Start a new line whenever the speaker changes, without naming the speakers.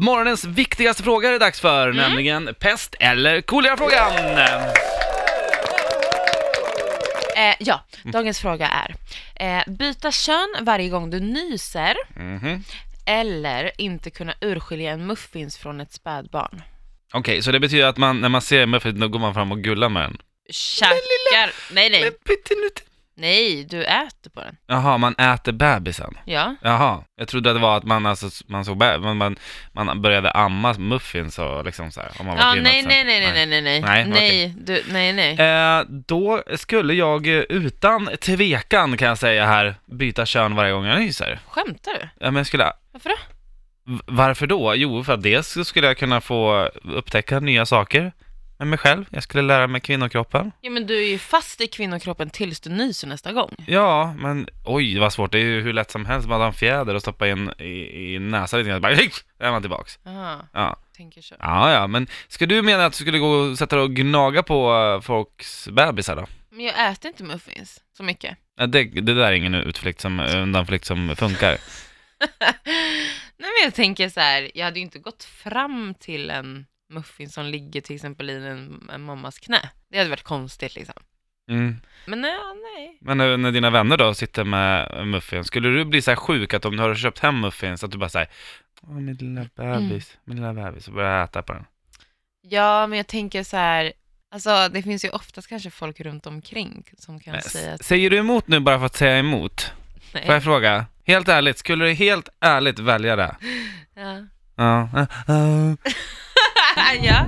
Morgonens viktigaste fråga är det dags för,
Mm.
nämligen pest eller kolera-frågan.
Eh, ja, dagens fråga är. Eh, byta kön varje gång du nyser Mm-hmm.
Mhm.
eller inte kunna urskilja en muffins från ett spädbarn.
Okej, så det betyder att man, när man ser Muffet, då går man fram och gullar med den?
Tjackar! Nej, nej,
pyttelite.
nej, du äter på den.
Jaha, man äter bebisen?
Ja.
Jaha, jag trodde att det var att man, alltså, man, såg bä- man, man, man började amma muffins och liksom så här, om man var
Ja,
kvinna
nej,
till
nej, nej,
exempel.
nej, nej, nej,
Nej,
nej, nej,
okej.
du, nej, nej.
Eh, då skulle jag eh, utan tvekan kan jag säga här byta kön varje gång jag nyser.
Skämtar du?
Ja, men jag skulle,
Varför då?
v- varför då? Jo, för att dels så skulle jag kunna få upptäcka nya saker med mig själv. Jag skulle lära mig kvinnokroppen.
Ja, men du är ju fast i kvinnokroppen tills du nyser nästa gång.
Ja, men oj vad svårt. Det är ju hur lätt som helst. Man tar en fjäder och stoppar in i, i näsan lite grann. Bara, hick! Där är man tillbaks.
Aha,
Ja.
tänker så.
ja, ja, men ska du mena att du skulle gå och sätta dig och gnaga på eh, folks bebisar då?
Men jag äter inte muffins så mycket.
Ja, Det, det där är ingen utflykt som, undanflykt som funkar.
Nej men jag tänker så här, jag hade ju inte gått fram till en muffin som ligger till exempel i en, en mammas knä. Det hade varit konstigt liksom.
Mm.
Men nej, ja, nej.
Men när, när dina vänner då sitter med muffins, skulle du bli så här sjuk att om du har köpt hem muffins, att du bara säger Åh, min lilla
Mm.
bebis, min lilla bebis, och börjar äta på den?
Ja men jag tänker så här, alltså det finns ju oftast kanske folk runt omkring som kan
Men s-
säga att
Säger du emot nu bara för att säga emot?
nej.
Får jag fråga? Helt ärligt, skulle du helt ärligt välja det?
Ja.
Ja. Ja.
ja.